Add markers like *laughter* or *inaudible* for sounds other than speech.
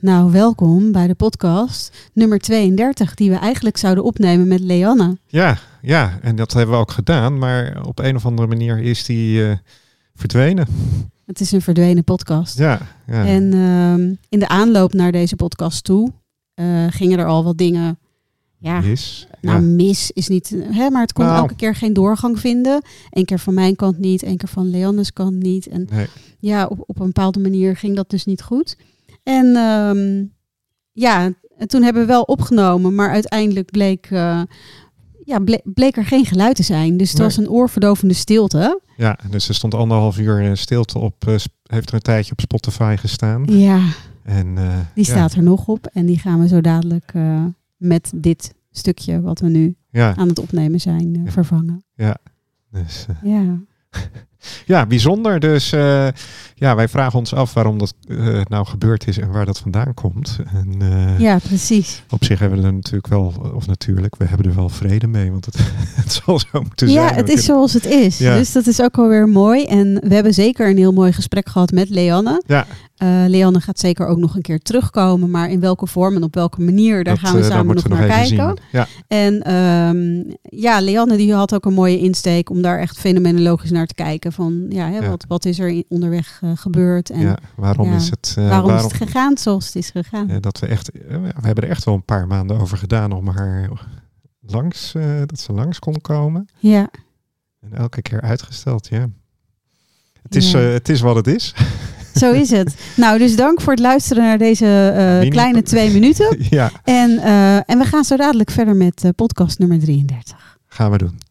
Nou, welkom bij de podcast nummer 32, die we eigenlijk zouden opnemen met Leanne. Ja, ja, en dat hebben we ook gedaan, maar op een of andere manier is die eh, verdwenen. Het is een verdwenen podcast. Ja, ja. En ehm, in de aanloop naar deze podcast toe eh, gingen er al wat dingen. Ja, Is, ja. nou, mis is niet. Hè, maar het kon Nou. elke keer geen doorgang vinden. Eén keer van mijn kant niet, één keer van Leanne's kant niet. En Nee. ja, op, op een bepaalde manier ging dat dus niet goed. En ehm, ja, en toen hebben we wel opgenomen, maar uiteindelijk bleek, eh, ja, ble- bleek er geen geluid te zijn. Dus het Nee. was een oorverdovende stilte. ja, dus er stond anderhalf uur eh, stilte op, eh, sp- heeft er een tijdje op Spotify gestaan. Ja, En, eh, die ja, staat er nog op en die gaan we zo dadelijk eh, met dit stukje wat we nu Ja, aan het opnemen zijn eh, Ja. vervangen. dus, eh, Ja. ja, bijzonder. Dus eh, ja, wij vragen ons af waarom dat eh, nou gebeurd is en waar dat vandaan komt. En, eh, ja, precies. Op zich hebben we er natuurlijk wel, of natuurlijk, we hebben er wel vrede mee, want het, *laughs* het zal zo moeten zijn. ja, het is zoals het is. Ja. Dus dat is ook alweer mooi. En we hebben zeker een heel mooi gesprek gehad met Leanne. Ja. Eh, Leanne gaat zeker ook nog een keer terugkomen, maar in welke vorm en op welke manier, daar Dat, gaan we eh, daar samen nog moeten we naar even kijken. zien. Ja, En ehm, ja, Leanne die had ook een mooie insteek om daar echt fenomenologisch naar te kijken. Van ja, hè, Ja. Wat, wat is er in- onderweg eh, gebeurd en ja, waarom ja, is het... eh, waarom, is het gegaan zoals het is gegaan? eh, dat we echt... eh, we hebben er echt wel een paar maanden over gedaan om haar langs... eh, dat ze langs kon komen. Ja, En elke keer uitgesteld, ja. Het is, Ja. eh, het is wat het is. *laughs* zo is het. nou, dus dank voor het luisteren naar deze eh, Mini- kleine twee minuten. ja, En, eh, en we gaan zo dadelijk verder met eh, podcast nummer 33. gaan we doen.